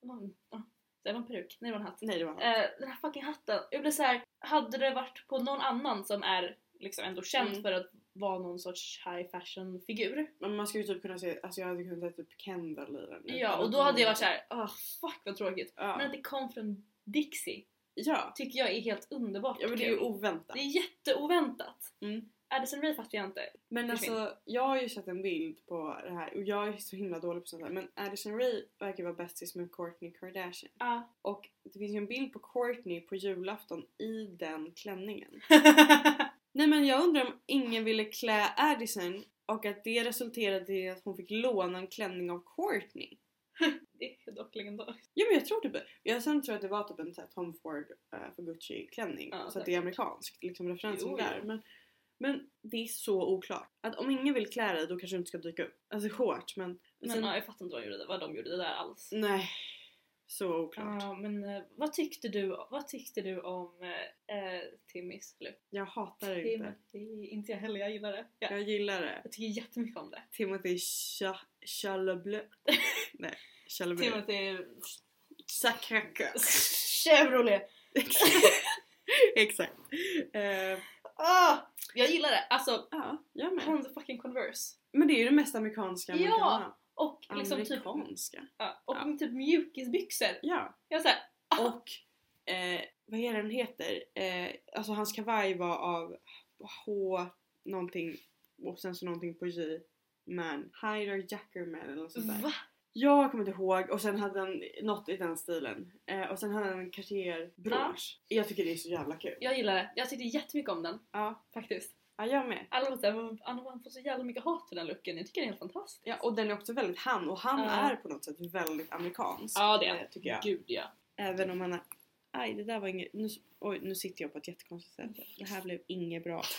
S2: Det var en- ja. Det var en peruk, nej det var en hatt.
S1: Nej, det var en hatt.
S2: Eh, den här fucking hatten, jag blev såhär, hade det varit på någon annan som är liksom ändå känd
S1: Mm.
S2: för att vara någon sorts high fashion figur.
S1: Men man skulle ju typ kunna se... Alltså jag hade kunnat se typ Kendall i den.
S2: Ja och då hade jag varit såhär, ah fuck vad tråkigt.
S1: Ja.
S2: Men att det kom från Dixie
S1: ja.
S2: tycker jag är helt underbart
S1: Ja men det är ju
S2: kul.
S1: oväntat.
S2: det är jätteoväntat.
S1: Mm.
S2: Addison Rae fattar jag inte.
S1: Men
S2: försvinner.
S1: alltså jag har ju sett en bild på det här och jag är så himla dålig på sånt här men Addison Rae verkar vara bästis med Kourtney Kardashian.
S2: Ja.
S1: Och det finns ju en bild på Kourtney på julafton i den klänningen. Nej men jag undrar om ingen ville klä Addison och att det resulterade i att hon fick låna en klänning av Kourtney.
S2: det är dock legendariskt.
S1: Ja men jag tror typ Jag sen tror jag att det var typ en sån här Tom Ford eh, för Gucci klänning.
S2: Ja,
S1: så att det är
S2: säkert.
S1: amerikanskt. Liksom referensen
S2: Jo,
S1: där.
S2: jo.
S1: Men, men det är så oklart. Att om ingen vill klä dig då kanske du inte ska dyka upp. Alltså hårt men.
S2: Men
S1: sen,
S2: ja, jag fattar inte vad de gjorde, vad de gjorde det där alls.
S1: nej. Så oklart.
S2: Ja, men eh, vad, tyckte du, vad tyckte du om eh, eh, Timmys look?
S1: Jag hatar det
S2: Tim,
S1: inte.
S2: det är inte jag heller, jag gillar det. Jag,
S1: Jag gillar det.
S2: jag tycker jättemycket om det.
S1: Timothy Cha- Chalablö. nej. Chalablö.
S2: Timothy
S1: Sakaka.
S2: Chevrolet!
S1: Exakt. Eh,
S2: Ah, jag gillar det! Alltså,
S1: ja, jag med.
S2: hans fucking Converse.
S1: Men det är ju det mest amerikanska man
S2: Ja,
S1: kan ha.
S2: Och liksom typ,
S1: Amerikanska.
S2: ja, och
S1: Ja.
S2: typ mjukisbyxor.
S1: Ja.
S2: Jag såhär,
S1: Och eh, vad är den heter? Eh, alltså hans kavaj var av H någonting och sen så någonting på J. Man. Hyder Jackerman eller något sånt där.
S2: va?
S1: Jag kommer inte ihåg och sen hade han något i den stilen. Eh, och sen hade han en Cartier brosch.
S2: Ah.
S1: Jag tycker det är så jävla kul.
S2: Jag gillar det. Jag tyckte jättemycket om den,
S1: Ja,
S2: faktiskt.
S1: ja jag med.
S2: Alla var såhär, "Anna, man får så jävla mycket hat för den looken. Jag tycker den är helt fantastisk.
S1: Ja, och den är också väldigt han och han
S2: Ja.
S1: är på något sätt väldigt amerikansk.
S2: Ja, det är
S1: eh, tycker jag.
S2: Gud ja.
S1: Även om han är aj det där var inget, nu, oj nu sitter jag på ett jättekonstigt sätt. Det här blev inget bra alls.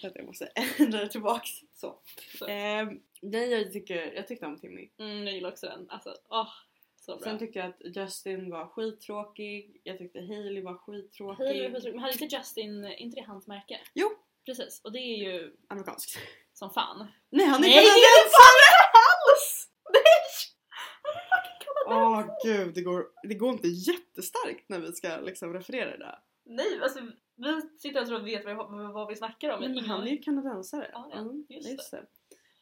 S1: Så att jag måste ändra tillbaks. Så.
S2: Så.
S1: Ehm, nej jag tycker, jag tyckte om Timmy.
S2: Mm, jag gillar också den. Alltså, åh. Så bra.
S1: Sen tyckte jag att Justin var skittråkig, jag tyckte Hailey var skittråkig.
S2: Hej, hur- hur- Men hade inte Justin, är inte det hans märke?
S1: Jo.
S2: Precis, och det är ju
S1: Amerikansk.
S2: som fan.
S1: Nej han är
S2: Nej, det är
S1: kanadensare! Åh gud, det går, det går inte jättestarkt när vi ska liksom referera det där.
S2: Nej, alltså vi sitter och tror att vi vet vad, vad vi snackar om.
S1: Men
S2: Ingen
S1: han är
S2: aning.
S1: ju kanadensare.
S2: Ja, ja,
S1: Mm,
S2: just
S1: det.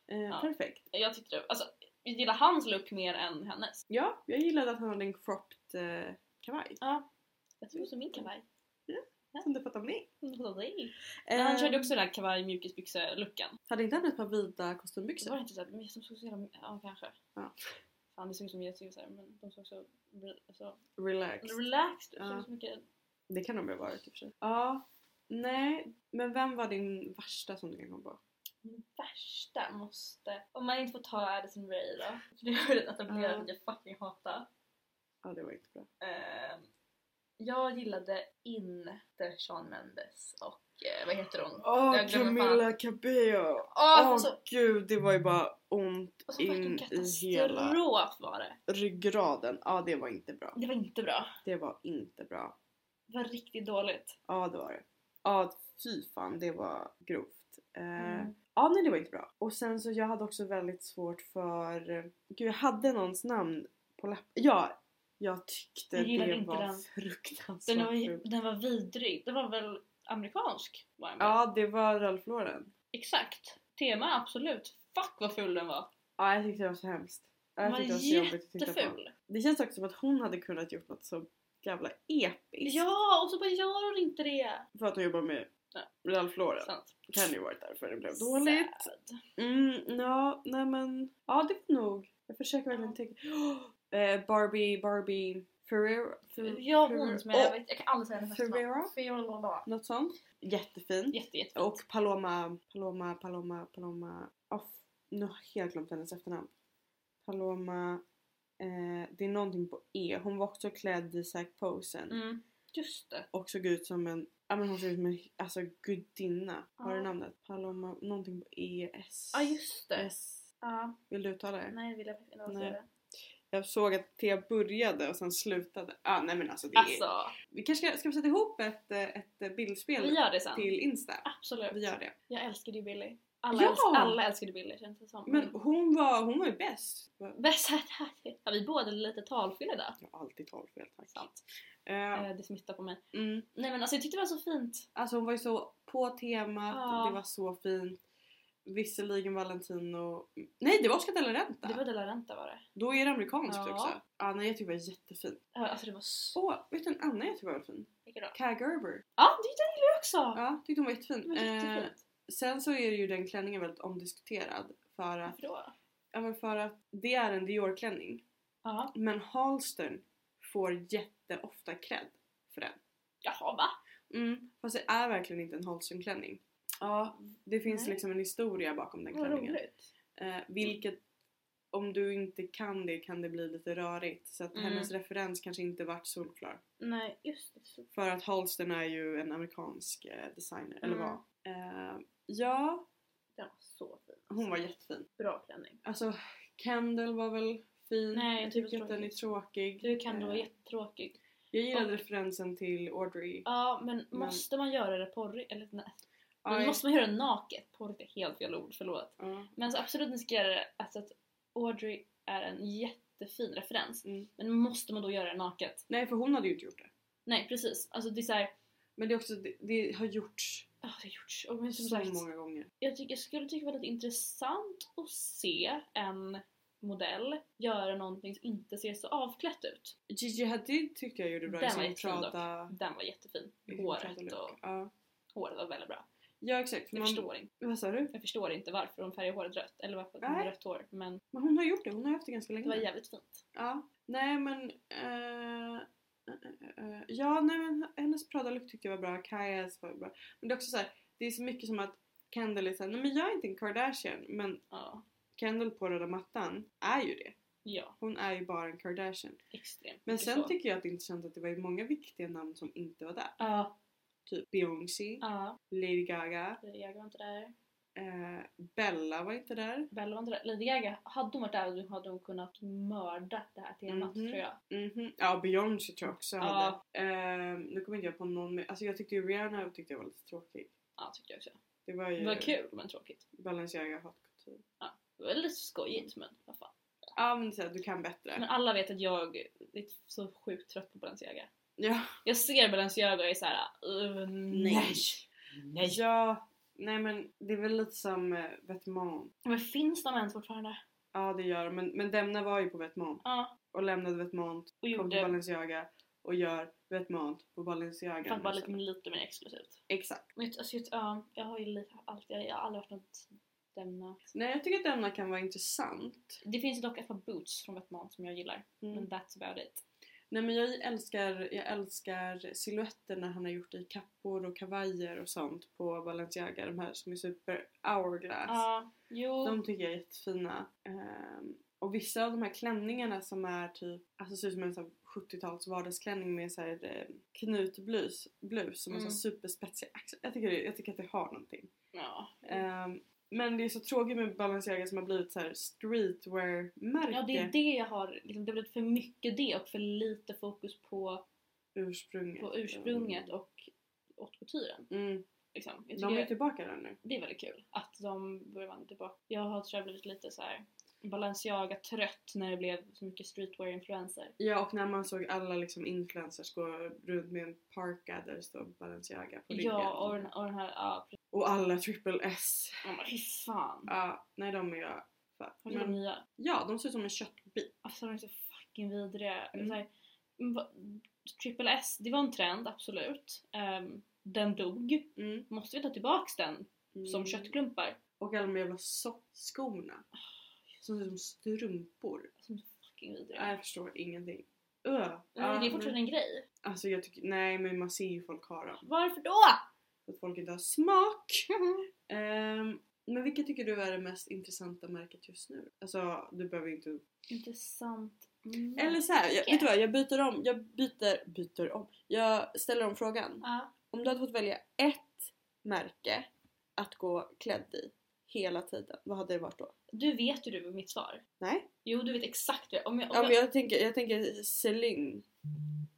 S1: Eh,
S2: Ja.
S1: Perfekt.
S2: Jag tyckte det, alltså jag gillar hans look mer än hennes.
S1: Ja, jag gillade att han hade en cropped eh, kavaj.
S2: Ja. Jag tror som min kavaj.
S1: Som du fattar med.
S2: Men han
S1: Eh,
S2: körde också den här kavaj mjukisbyxe-looken.
S1: Hade inte han ett par vita
S2: Det var
S1: kostymbyxor?
S2: inte såhär, men som såg så jävla... Ja, kanske.
S1: Ja.
S2: Fan, det såg ut som jättesnyggt såhär, men de såg så... re- så
S1: Relax.
S2: relaxed ut.
S1: Ja.
S2: Ja. Så mycket...
S1: Det kan de ju ha varit i och för sig. Ja. Nej, men vem var din värsta som du kan komma på?
S2: Min värsta måste... Om man inte får ta Addison Ray då. För det har jag redan etablerat
S1: Ja.
S2: att jag fucking hatar.
S1: Ja, det var inte bra.
S2: Ehm, jag gillade inte Sean Mendes och eh, vad heter hon?
S1: Åh,
S2: Jag glömmer
S1: Camilla Cabello!
S2: Åh,
S1: Åh
S2: så,
S1: gud, det var ju bara ont
S2: och så Alltså, fucking
S1: in i hela
S2: katastrof var det.
S1: ryggraden. Ja, det var inte bra.
S2: Det var inte bra.
S1: Det var inte bra.
S2: Det var riktigt dåligt.
S1: Ja det var det. Ja fy fan det var grovt. Eh,
S2: Mm.
S1: Ja nej det var inte bra. Och sen så jag hade också väldigt svårt för... Gud jag hade någons namn på läppen. Ja! Jag tyckte
S2: Jag gillade
S1: det
S2: inte
S1: var
S2: den.
S1: fruktansvärt
S2: Den var,
S1: fult.
S2: den var vidrig. Den var väl amerikansk? Var den väl?
S1: Ja det var Ralph Lauren.
S2: Exakt. Tema absolut. Fuck vad ful den var.
S1: Ja jag tyckte det var så hemskt. Ja,
S2: Den
S1: Jag
S2: var
S1: tyckte det var så jobbigt att titta på.
S2: jätteful.
S1: Det känns också som att hon hade kunnat gjort något så jävla episkt.
S2: Ja, och så bara gör hon inte det.
S1: För att hon jobbar med
S2: Ja.
S1: Ralph Lauren.
S2: Sant.
S1: Kan ju varit därför det blev dåligt.
S2: Sad.
S1: Mm, ja, nej men. Ja, det var nog. Jag försöker verkligen
S2: Ja.
S1: tänka. Eh, Barbie, Barbie, Ferrero. Fer-
S2: Ja, hon som jag, jag,
S1: Åh,
S2: vet, jag kan aldrig säga hennes
S1: Ferrera?
S2: Ferrera?
S1: Något sånt. Jättefin.
S2: Jätte, jättefint.
S1: Och Paloma, Paloma, Paloma, Paloma. Oh, nu har jag helt glömt hennes efternamn. Paloma. Eh, det är någonting på E. Hon var också klädd i Zac Posen.
S2: Mm. Just det.
S1: Och såg ut som en, ja men hon såg ut som en alltså, gudinna. Har du
S2: Ja.
S1: namnet? Paloma, någonting på E, S.
S2: Ja, just det.
S1: S.
S2: Ja,
S1: Vill du uttala det?
S2: nej det vill jag faktiskt inte
S1: Nej.
S2: säga det.
S1: Jag såg att Thea började och sen slutade. Ah, nej men alltså det är...
S2: Alltså,
S1: Vi kanske ska, ska vi sätta ihop ett, eh, ett bildspel
S2: vi gör det sen.
S1: till Insta? Vi
S2: Absolut.
S1: gör det.
S2: Jag älskade ju Billy. Alla,
S1: Ja!
S2: älsk- alla älskade Billy känns det som. Mm.
S1: Men hon var, hon var ju bäst.
S2: Bäst här. Ja, vi båda är lite talfylla där.
S1: Jag har alltid talfel tack.
S2: Sant.
S1: Eh,
S2: Eh, Det smittar på mig.
S1: mm.
S2: Nej men alltså jag tyckte det var så fint.
S1: Alltså hon var ju så på temat,
S2: Ja.
S1: det var så fint. Visserligen Valentino... Nej det var Oscar de la Renta!
S2: Det var De La Renta var det.
S1: Då är det amerikanskt
S2: Ja.
S1: också. Ah, nej jag tycker det var jättefint.
S2: Eh, Alltså det var så...
S1: Åh, vet du en annan jag tyckte var väldigt fin?
S2: Vilka då?
S1: Kai Gerber.
S2: Ja, det den gillar jag också!
S1: Oh. Ja, tyckte hon var
S2: Det
S1: jättefin.
S2: var
S1: Eh,
S2: jättefint.
S1: Sen så är ju den klänningen väldigt omdiskuterad för att,
S2: Varför då?
S1: ja, men för att det är en Dior-klänning.
S2: Ja.
S1: Men Halston får jätteofta cred för den.
S2: Jaha va?
S1: Mm. Fast det är verkligen inte en Halston-klänning. Ja, det finns
S2: Nej.
S1: liksom en historia bakom den
S2: Vad
S1: klänningen.
S2: roligt.
S1: Eh, vilket, om du inte kan det kan det bli lite rörigt. Så att
S2: Mm.
S1: hennes referens kanske inte vart solklar.
S2: Nej, just det. Så-
S1: För att Halston är ju en amerikansk eh, designer, eller
S2: Mm.
S1: var. Eh, ja,
S2: Den var så fin.
S1: hon var jättefin.
S2: Bra klänning.
S1: Alltså Kendall var väl fin.
S2: Nej, jag
S1: jag
S2: tycker
S1: tycker att den är tråkig.
S2: Du kan då vara
S1: Eh,
S2: jättetråkig.
S1: Jag gillade
S2: Och-
S1: referensen till Audrey.
S2: Ja, men måste man göra det porrigt? Eller nej. Men
S1: Aj,
S2: måste man göra det naket? Porrigt är helt fel ord, förlåt.
S1: ja.
S2: Men så absolut ni ska göra det, alltså att Audrey är en jättefin referens.
S1: Mm.
S2: Men måste man då göra det naket?
S1: Nej för hon hade ju inte gjort det.
S2: Nej precis, alltså det är såhär...
S1: Men det, är också, det, det har gjorts
S2: ah det har gjorts. Och men som
S1: så
S2: sagt,
S1: många gånger.
S2: jag, tycker, jag skulle tycka det var lite intressant att se en modell göra någonting som inte ser så avklätt ut.
S1: Gigi Hadid tyckte jag gjorde bra
S2: Den
S1: i
S2: var
S1: sin
S2: jättefin dock.
S1: Prada...
S2: Den var jättefin.
S1: i sin
S2: Håret
S1: Prada-look.
S2: och
S1: Ja.
S2: håret var väldigt bra.
S1: ja exakt.
S2: Jag,
S1: Man,
S2: förstår, inte,
S1: vad sa du?
S2: jag förstår inte varför hon färgar håret rött, eller varför hon har
S1: Nej. Mm.
S2: rött hår, men
S1: Men hon har gjort det, hon har haft det ganska länge.
S2: det var jävligt fint.
S1: Ja. Nej men... eh, eh, eh, ja nej men hennes Prada-look tyckte jag var bra, Kajas var bra. Men det är också så här, det är så mycket som att Kendall är såhär, nej men jag är inte en Kardashian men
S2: Ja.
S1: Kendall på röda mattan är ju det.
S2: Ja,
S1: Hon är ju bara en Kardashian.
S2: extremt.
S1: Men
S2: mycket
S1: sen
S2: så.
S1: tycker jag att det är intressant att det var ju många viktiga namn som inte var där.
S2: Ja,
S1: Typ Beyoncé,
S2: ja.
S1: Lady Gaga,
S2: Jag var inte där.
S1: eh, Bella var inte där.
S2: Bella var inte där. Lady Gaga, hade hon varit där hade hon kunnat mörda det här temat
S1: Mhm.
S2: tror jag.
S1: Mhm. Ja, Beyoncé tror jag också
S2: Ja.
S1: hade. Eh, nu kommer inte jag på någon mer. Alltså jag tyckte ju Rihanna tyckte jag var lite tråkig.
S2: Ja, tyckte jag också.
S1: Det var ju
S2: Det var kul men tråkigt.
S1: Balenciaga hatkultur.
S2: Det var lite skojigt men vad fan.
S1: Ja men såhär, du kan bättre.
S2: Men alla vet att jag är så sjukt trött på Balenciaga.
S1: Ja.
S2: Jag ser Balenciaga och är såhär uh, nej. Nej.
S1: Ja. Nej men det är väl lite som eh, Vetements.
S2: Men finns de ens fortfarande?
S1: Ja det gör de. men, men Demna var ju på Vetements
S2: Ja.
S1: och lämnade Vetements, kom
S2: Och
S1: till
S2: gjorde
S1: Balenciaga och gör Vetements på Balenciaga.
S2: fan bara
S1: nu sen.
S2: lite, lite mer exklusivt.
S1: Exakt.
S2: Men jag- alltså, jag- ja, jag har ju lite allt, jag, jag har aldrig hört något denna.
S1: Nej jag tycker att Demna kan vara intressant.
S2: Det finns ju dock ett par boots från Vetements som jag gillar.
S1: Mm.
S2: Men that's about it.
S1: Nej men jag älskar, jag älskar silhuetterna han har gjort i kappor och kavajer och sånt på Balenciaga. De här som är super hourglass.
S2: Ja, jo.
S1: Alltså, De tycker jag är jättefina. Ehm, och vissa av de här klänningarna som är typ, alltså ser ut som en sån här 70-tals vardagsklänning med så här eh, knutblus blus, som har
S2: Mm.
S1: mm. superspetsiga axlar. Jag tycker, det, jag tycker att det har någonting.
S2: Ja. Mm.
S1: Ehm, men det är så tråkigt med Balenciaga som har blivit så här streetwear-märke.
S2: ja, det är det jag har. Liksom, det har blivit för mycket det och för lite fokus på,
S1: Ursprunget.
S2: på ursprunget och haute couturen.
S1: Mm.
S2: Liksom. Jag tycker
S1: De är ju tillbaka där nu.
S2: det är väldigt kul att de börjar vandra tillbaka. Jag har tror jag blivit lite så här Balenciaga-trött när det blev så mycket streetwear-influenser.
S1: Ja och när man såg alla liksom influencers gå runt med en parka där det står Balenciaga på ryggen.
S2: Ja, och den, och den här... Ja, precis.
S1: och alla triple S.
S2: Man bara, fy fan.
S1: Ja, nej de är jag för.
S2: Har du
S1: Men,
S2: de nya?
S1: ja, de ser ut som en köttbit.
S2: Alltså de är så fucking vidriga.
S1: Mm.
S2: Så här, men vad- Triple S, det var en trend, absolut. Ehm, den dog.
S1: Mm.
S2: Måste vi ta tillbaks den som
S1: Mm.
S2: köttklumpar?
S1: Och alla de jävla sockskorna.
S2: Ah,
S1: Som ser ut som strumpor.
S2: Alltså, de är så fucking vidriga.
S1: Nej, Jag förstår ingenting. Öh.
S2: Men det är fortfarande en grej.
S1: Alltså jag tycker, nej men man ser ju folk har dem.
S2: Varför då?
S1: För att folk inte har smak. Ehm, men vilket tycker du är det mest intressanta märket just nu? Alltså du behöver ju inte...
S2: Intressant. Mm.
S1: Eller så här, jag,
S2: Okej.
S1: vet du vad? Jag byter om, jag byter, byter om. Jag ställer om frågan.
S2: Ja.
S1: Om du hade fått välja ett märke att gå klädd i hela tiden, vad hade det varit då?
S2: Du vet ju du mitt svar.
S1: Nej?
S2: Jo, du vet exakt det. Om jag, om
S1: Ja, men
S2: jag,
S1: jag, tänker, jag tänker Celine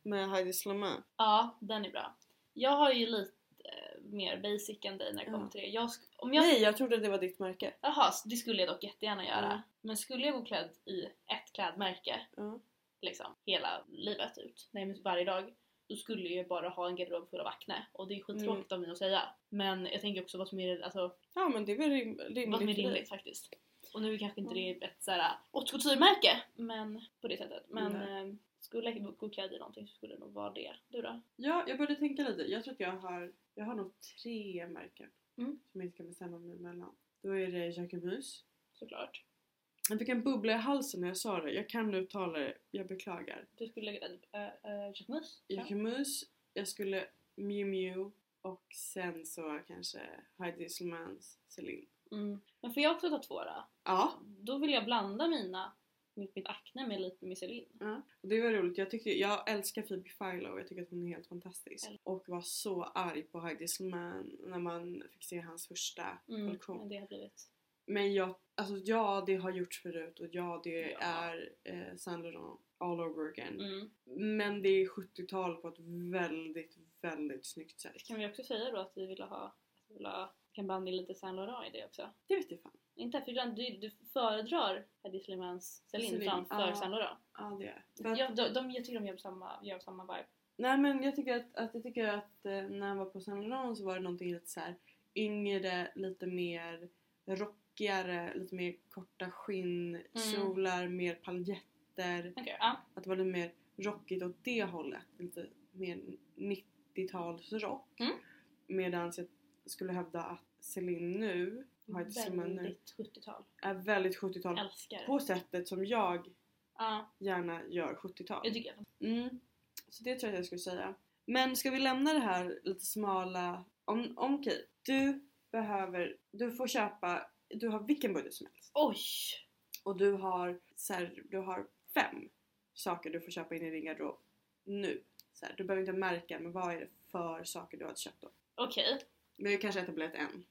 S1: med Heidi Slamé.
S2: ja, den är bra. Jag har ju lite eh, mer basic än dig när det kommer
S1: Ja.
S2: till det. Jag, sk- om jag,
S1: Nej, jag trodde det var ditt märke.
S2: Jaha, s- det skulle jag dock jättegärna göra.
S1: Mm.
S2: Men skulle jag gå klädd i ett klädmärke
S1: Ja.
S2: liksom hela livet ut, nej men varje dag, då skulle jag ju bara ha en garderob full av akne. Och det är skittråkigt
S1: Mm.
S2: av mig att säga. Men jag tänker också vad som är, alltså,
S1: Ja, men det är väl rim, rimligt.
S2: vad som är
S1: för dig. Mm.
S2: rimligt faktiskt. Och nu kanske inte det är ett såhär haute couture-märke, men på det sättet. Men eh, skulle jag gå klädd i någonting så skulle det nog vara det. Du då?
S1: Ja, jag började tänka lite. Jag tror att jag har, jag har nog tre märken
S2: Mm.
S1: som jag inte kan bestämma mig mellan. Då är det Jacquemus.
S2: Såklart.
S1: Jag fick en bubbla i halsen när jag sa det. Jag kan uttala det, jag beklagar.
S2: Du skulle lägga äh, äh, Jacquemus? Ja.
S1: Jacquemus, jag skulle Miu Miu och sen så kanske Heidi Slamans Celine.
S2: Mm. Men får jag också ta två då?
S1: Ja,
S2: Då vill jag blanda mina, mitt, mitt akne med lite misselin.
S1: och det var roligt. Jag, tyckte, jag älskar Phoebe Philo jag tycker att hon är helt fantastisk.
S2: Eller-
S1: Och var så arg på Heidi Slaman när man fick se hans första
S2: Mm.
S1: kollektion.
S2: Men det har blivit...
S1: Men jag, alltså ja det har gjorts förut och ja det
S2: Ja.
S1: är eh, Saint Laurent all over again.
S2: Mm.
S1: Men det är 70-tal på ett väldigt, väldigt snyggt sätt.
S2: Kan vi också säga då att vi ville ha, att vi ville ha kan blanda in lite Saint Laurent i det också?
S1: Det vet jag fan.
S2: Inte för ibland, du, du föredrar Hedi Slimans Celine
S1: Celine,
S2: framför
S1: ja.
S2: Saint Laurent.
S1: Ja det är För att-
S2: Jag, de, de, jag tycker de gör samma, gör samma vibe.
S1: Nej men jag tycker att, att, jag tycker att eh, när han var på Saint Laurent så var det någonting lite så här yngre, lite mer rockigare, lite mer korta
S2: Mm.
S1: skinnkjolar, mer paljetter.
S2: Okej, ja.
S1: Att det var lite mer rockigt åt det hållet. Lite mer 90-talsrock.
S2: Mm.
S1: Medan jag skulle hävda att Celine nu, har ett Celine nu,
S2: Väldigt 70-tal.
S1: är väldigt 70-tal
S2: Älskar.
S1: på sättet som jag
S2: Ja,
S1: gärna gör 70-tal.
S2: jag tycker att
S1: Mm. Så det tror jag att jag skulle säga. Men ska vi lämna det här lite smala... Om, om, okej, du behöver... Du får köpa... Du har vilken budget som helst.
S2: Oj!
S1: Och du har, så här, du har fem saker du får köpa in i din garderob nu. Så här, du behöver inte märka men vad är det för saker du har köpt då?
S2: Okej,
S1: Vi har kanske etablerat en.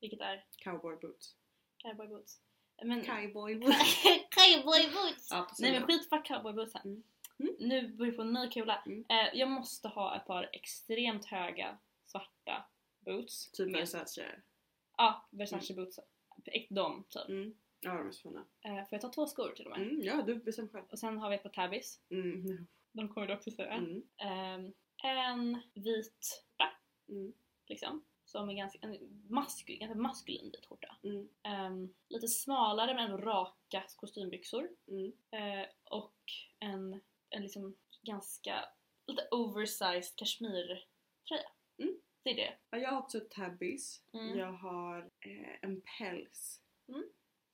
S2: vilket är
S1: Cowboy boots.
S2: cowboy boots.
S1: Mm.
S2: Men...
S1: Cowboy
S2: cowboy boots!
S1: ja, precis.
S2: Nej men skit för cowboybootsen.
S1: Mm. Mm.
S2: Mm. Nu börjar vi få en ny kula.
S1: Mm.
S2: Eh, jag måste ha ett par extremt höga svarta boots.
S1: Typ
S2: Med-
S1: Versace.
S2: Ja, Versace boots. Ett- De typ.
S1: Mm. Ja de är så fina.
S2: Eh, får jag ta två skor till och med?
S1: Mm, ja du bestämmer själv.
S2: Och sen har vi ett par tabbies.
S1: Mm.
S2: De kommer du också säga.
S1: Mm.
S2: Ehm, en vit skjorta.
S1: Mm.
S2: Liksom. Som är ganska, en maskulin, ganska maskulin vit skjorta.
S1: Mm.
S2: Ehm, lite smalare men ändå raka kostymbyxor.
S1: Mm.
S2: Eh, och en, en liksom ganska lite oversized kashmirtröja.
S1: Mm.
S2: Det är det.
S1: Ja, jag har också tabbies.
S2: Mm.
S1: Jag har eh, en päls.
S2: Mm.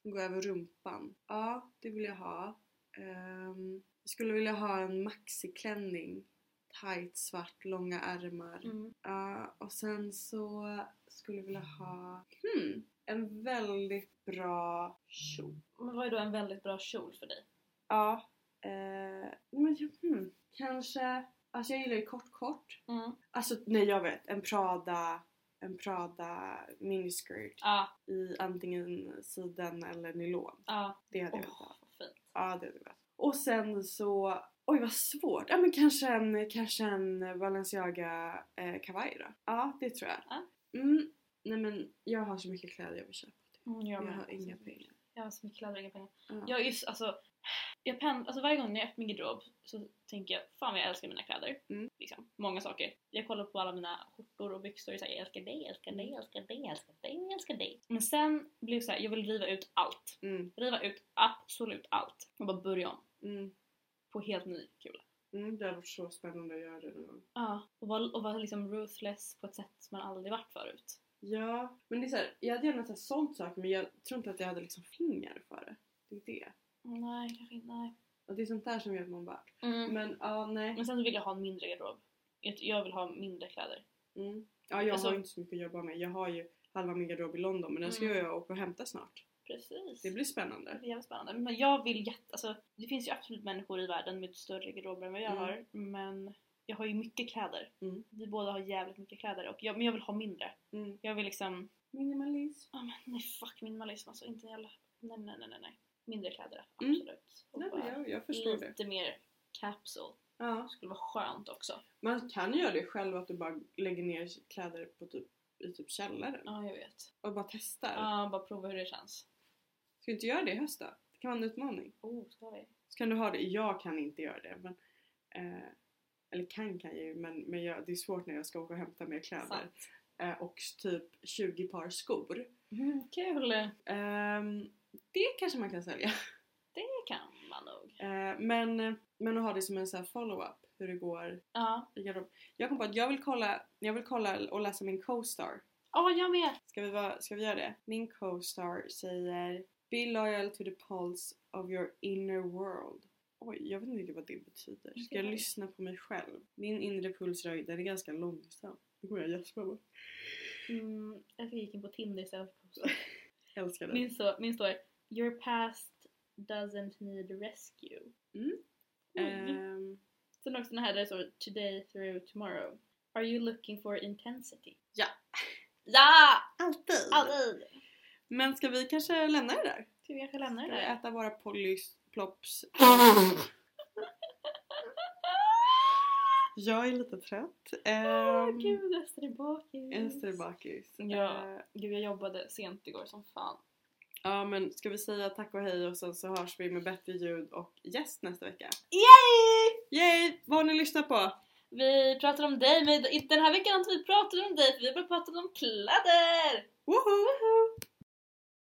S1: Den går över rumpan. Ja, det vill jag ha. Ehm, jag skulle vilja ha en maxiklänning. Tight svart, långa ärmar.
S2: Mm.
S1: Ja, och sen så skulle jag vilja ha hmm, en väldigt bra kjol.
S2: Men vad är då en väldigt bra kjol för dig?
S1: Ja, eh, men jag- hmm, kanske... Alltså jag gillar ju kort kort.
S2: Mm.
S1: Alltså nej jag vet, en Prada, en Prada miniskirt
S2: Ja,
S1: i antingen siden eller nylon.
S2: ja.
S1: Det hade jag
S2: Åh,
S1: velat ha.
S2: vad fint.
S1: Ja, det hade jag velat. Och sen så... Oj vad svårt! Ja men kanske en, kanske en Balenciaga eh, kavaj då? Ja, det tror jag.
S2: Ja.
S1: Mm. Nej men jag har så mycket kläder jag vill köpa.
S2: Mm,
S1: Jag,
S2: med.
S1: har inga pengar.
S2: Jag har så mycket kläder och inga pengar.
S1: Ja.
S2: Jag är just, alltså, jag pen, alltså varje gång när jag öppnar min garderob så tänker jag fan vad jag älskar mina kläder.
S1: Mm.
S2: Liksom, många saker. Jag kollar på alla mina skjortor och byxor och säger jag älskar dig, älskar dig, älskar dig, älskar dig, älskar dig. Men sen blev det så här, jag vill riva ut allt.
S1: Mm,
S2: Riva ut absolut allt och bara börja om
S1: mm,
S2: på helt ny kula.
S1: mm, det hade varit så spännande att göra det någon gång.
S2: Ja, och vara och var liksom ruthless på ett sätt som man aldrig varit förut.
S1: Ja, men det är så här, jag hade gärna så här sålt saker men jag tror inte att jag hade liksom fingrar för det. Det är det.
S2: Nej, kanske inte. Nej.
S1: Och det är sånt där som gör att man bara...
S2: Mm. Men,
S1: Men ja, nej.
S2: sen så vill jag ha en mindre garderob. Jag, jag vill ha mindre kläder.
S1: Mm. Ja, jag
S2: Alltså-
S1: har ju inte så mycket att jobba med. Jag har ju halva min garderob i London men den ska
S2: Mm.
S1: jag åka och hämta snart.
S2: Precis.
S1: Det blir spännande.
S2: Det är jävligt spännande. Men jag vill jätte... Alltså, det finns ju absolut människor i världen med större garderober än vad jag
S1: Mm.
S2: har. Men jag har ju mycket kläder.
S1: Mm.
S2: Vi båda har jävligt mycket kläder. Och jag, men jag vill ha mindre.
S1: Mm.
S2: Jag vill liksom...
S1: Minimalism.
S2: ah men nej fuck minimalism alltså. Inte en jävla... Nej nej nej nej. nej. Mindre kläder.
S1: Mm.
S2: Absolut. Och
S1: Nej, men
S2: bara
S1: jag, jag förstår det.
S2: lite mer capsule.
S1: Ja.
S2: Skulle vara skönt också.
S1: Man kan ju göra det själv att du bara lägger ner kläder på typ, i typ källaren
S2: Ja jag vet.
S1: och bara testar.
S2: Ja bara prova hur det känns.
S1: Ska du inte göra det i höst då? Det kan vara en utmaning.
S2: Oh ska vi?
S1: Så kan du ha det. Jag kan inte göra det. Men, eh, eller kan kan jag ju men, men jag, det är svårt när jag ska åka och hämta mer kläder.
S2: Sant.
S1: Eh, och typ 20 par skor.
S2: Mm, kul!
S1: Ehm, det kanske man kan sälja.
S2: Det kan man nog.
S1: Eh, men, men att ha det som en så här follow-up hur det går
S2: Ja.
S1: i garderob. Jag kom på att jag vill kolla, jag vill kolla och läsa min co-star.
S2: Ja jag med!
S1: Ska vi, vara- ska vi göra det? Min co-star säger Be loyal to the pulse of your inner world. Oj, jag vet inte riktigt vad det betyder. Ska jag
S2: Okej.
S1: lyssna på mig själv? Min inre puls rör den är ganska långsam. Nu kommer jag gäspa bara.
S2: Mm, jag gick in på Tinder istället för Costa.
S1: Jag Älskar den.
S2: Min, så, min står Your past doesn't need rescue.
S1: Mm.
S2: Mm.
S1: Ehm,
S2: Sen också den här där det står Today through tomorrow. Are you looking for intensity?
S1: Ja.
S2: Ja!
S1: alltid.
S2: Alltid!
S1: Men ska vi kanske lämna det där?
S2: Ska vi kanske lämna det
S1: Ska vi
S2: där?
S1: äta våra pollys, plops? jag är lite trött.
S2: Åh
S1: Um,
S2: Ah, gud, Ester är bakis.
S1: Ester är bakis.
S2: Ja.
S1: Eh,
S2: Gud, jag jobbade sent igår som fan.
S1: ja men ska vi säga tack och hej och sen så hörs vi med bättre ljud och gäst nästa vecka.
S2: Yay!
S1: Yay! Vad har ni lyssnat på?
S2: Vi pratar om dig, men den här veckan har inte vi pratat om dig för vi har bara pratat om kläder!
S1: Woho!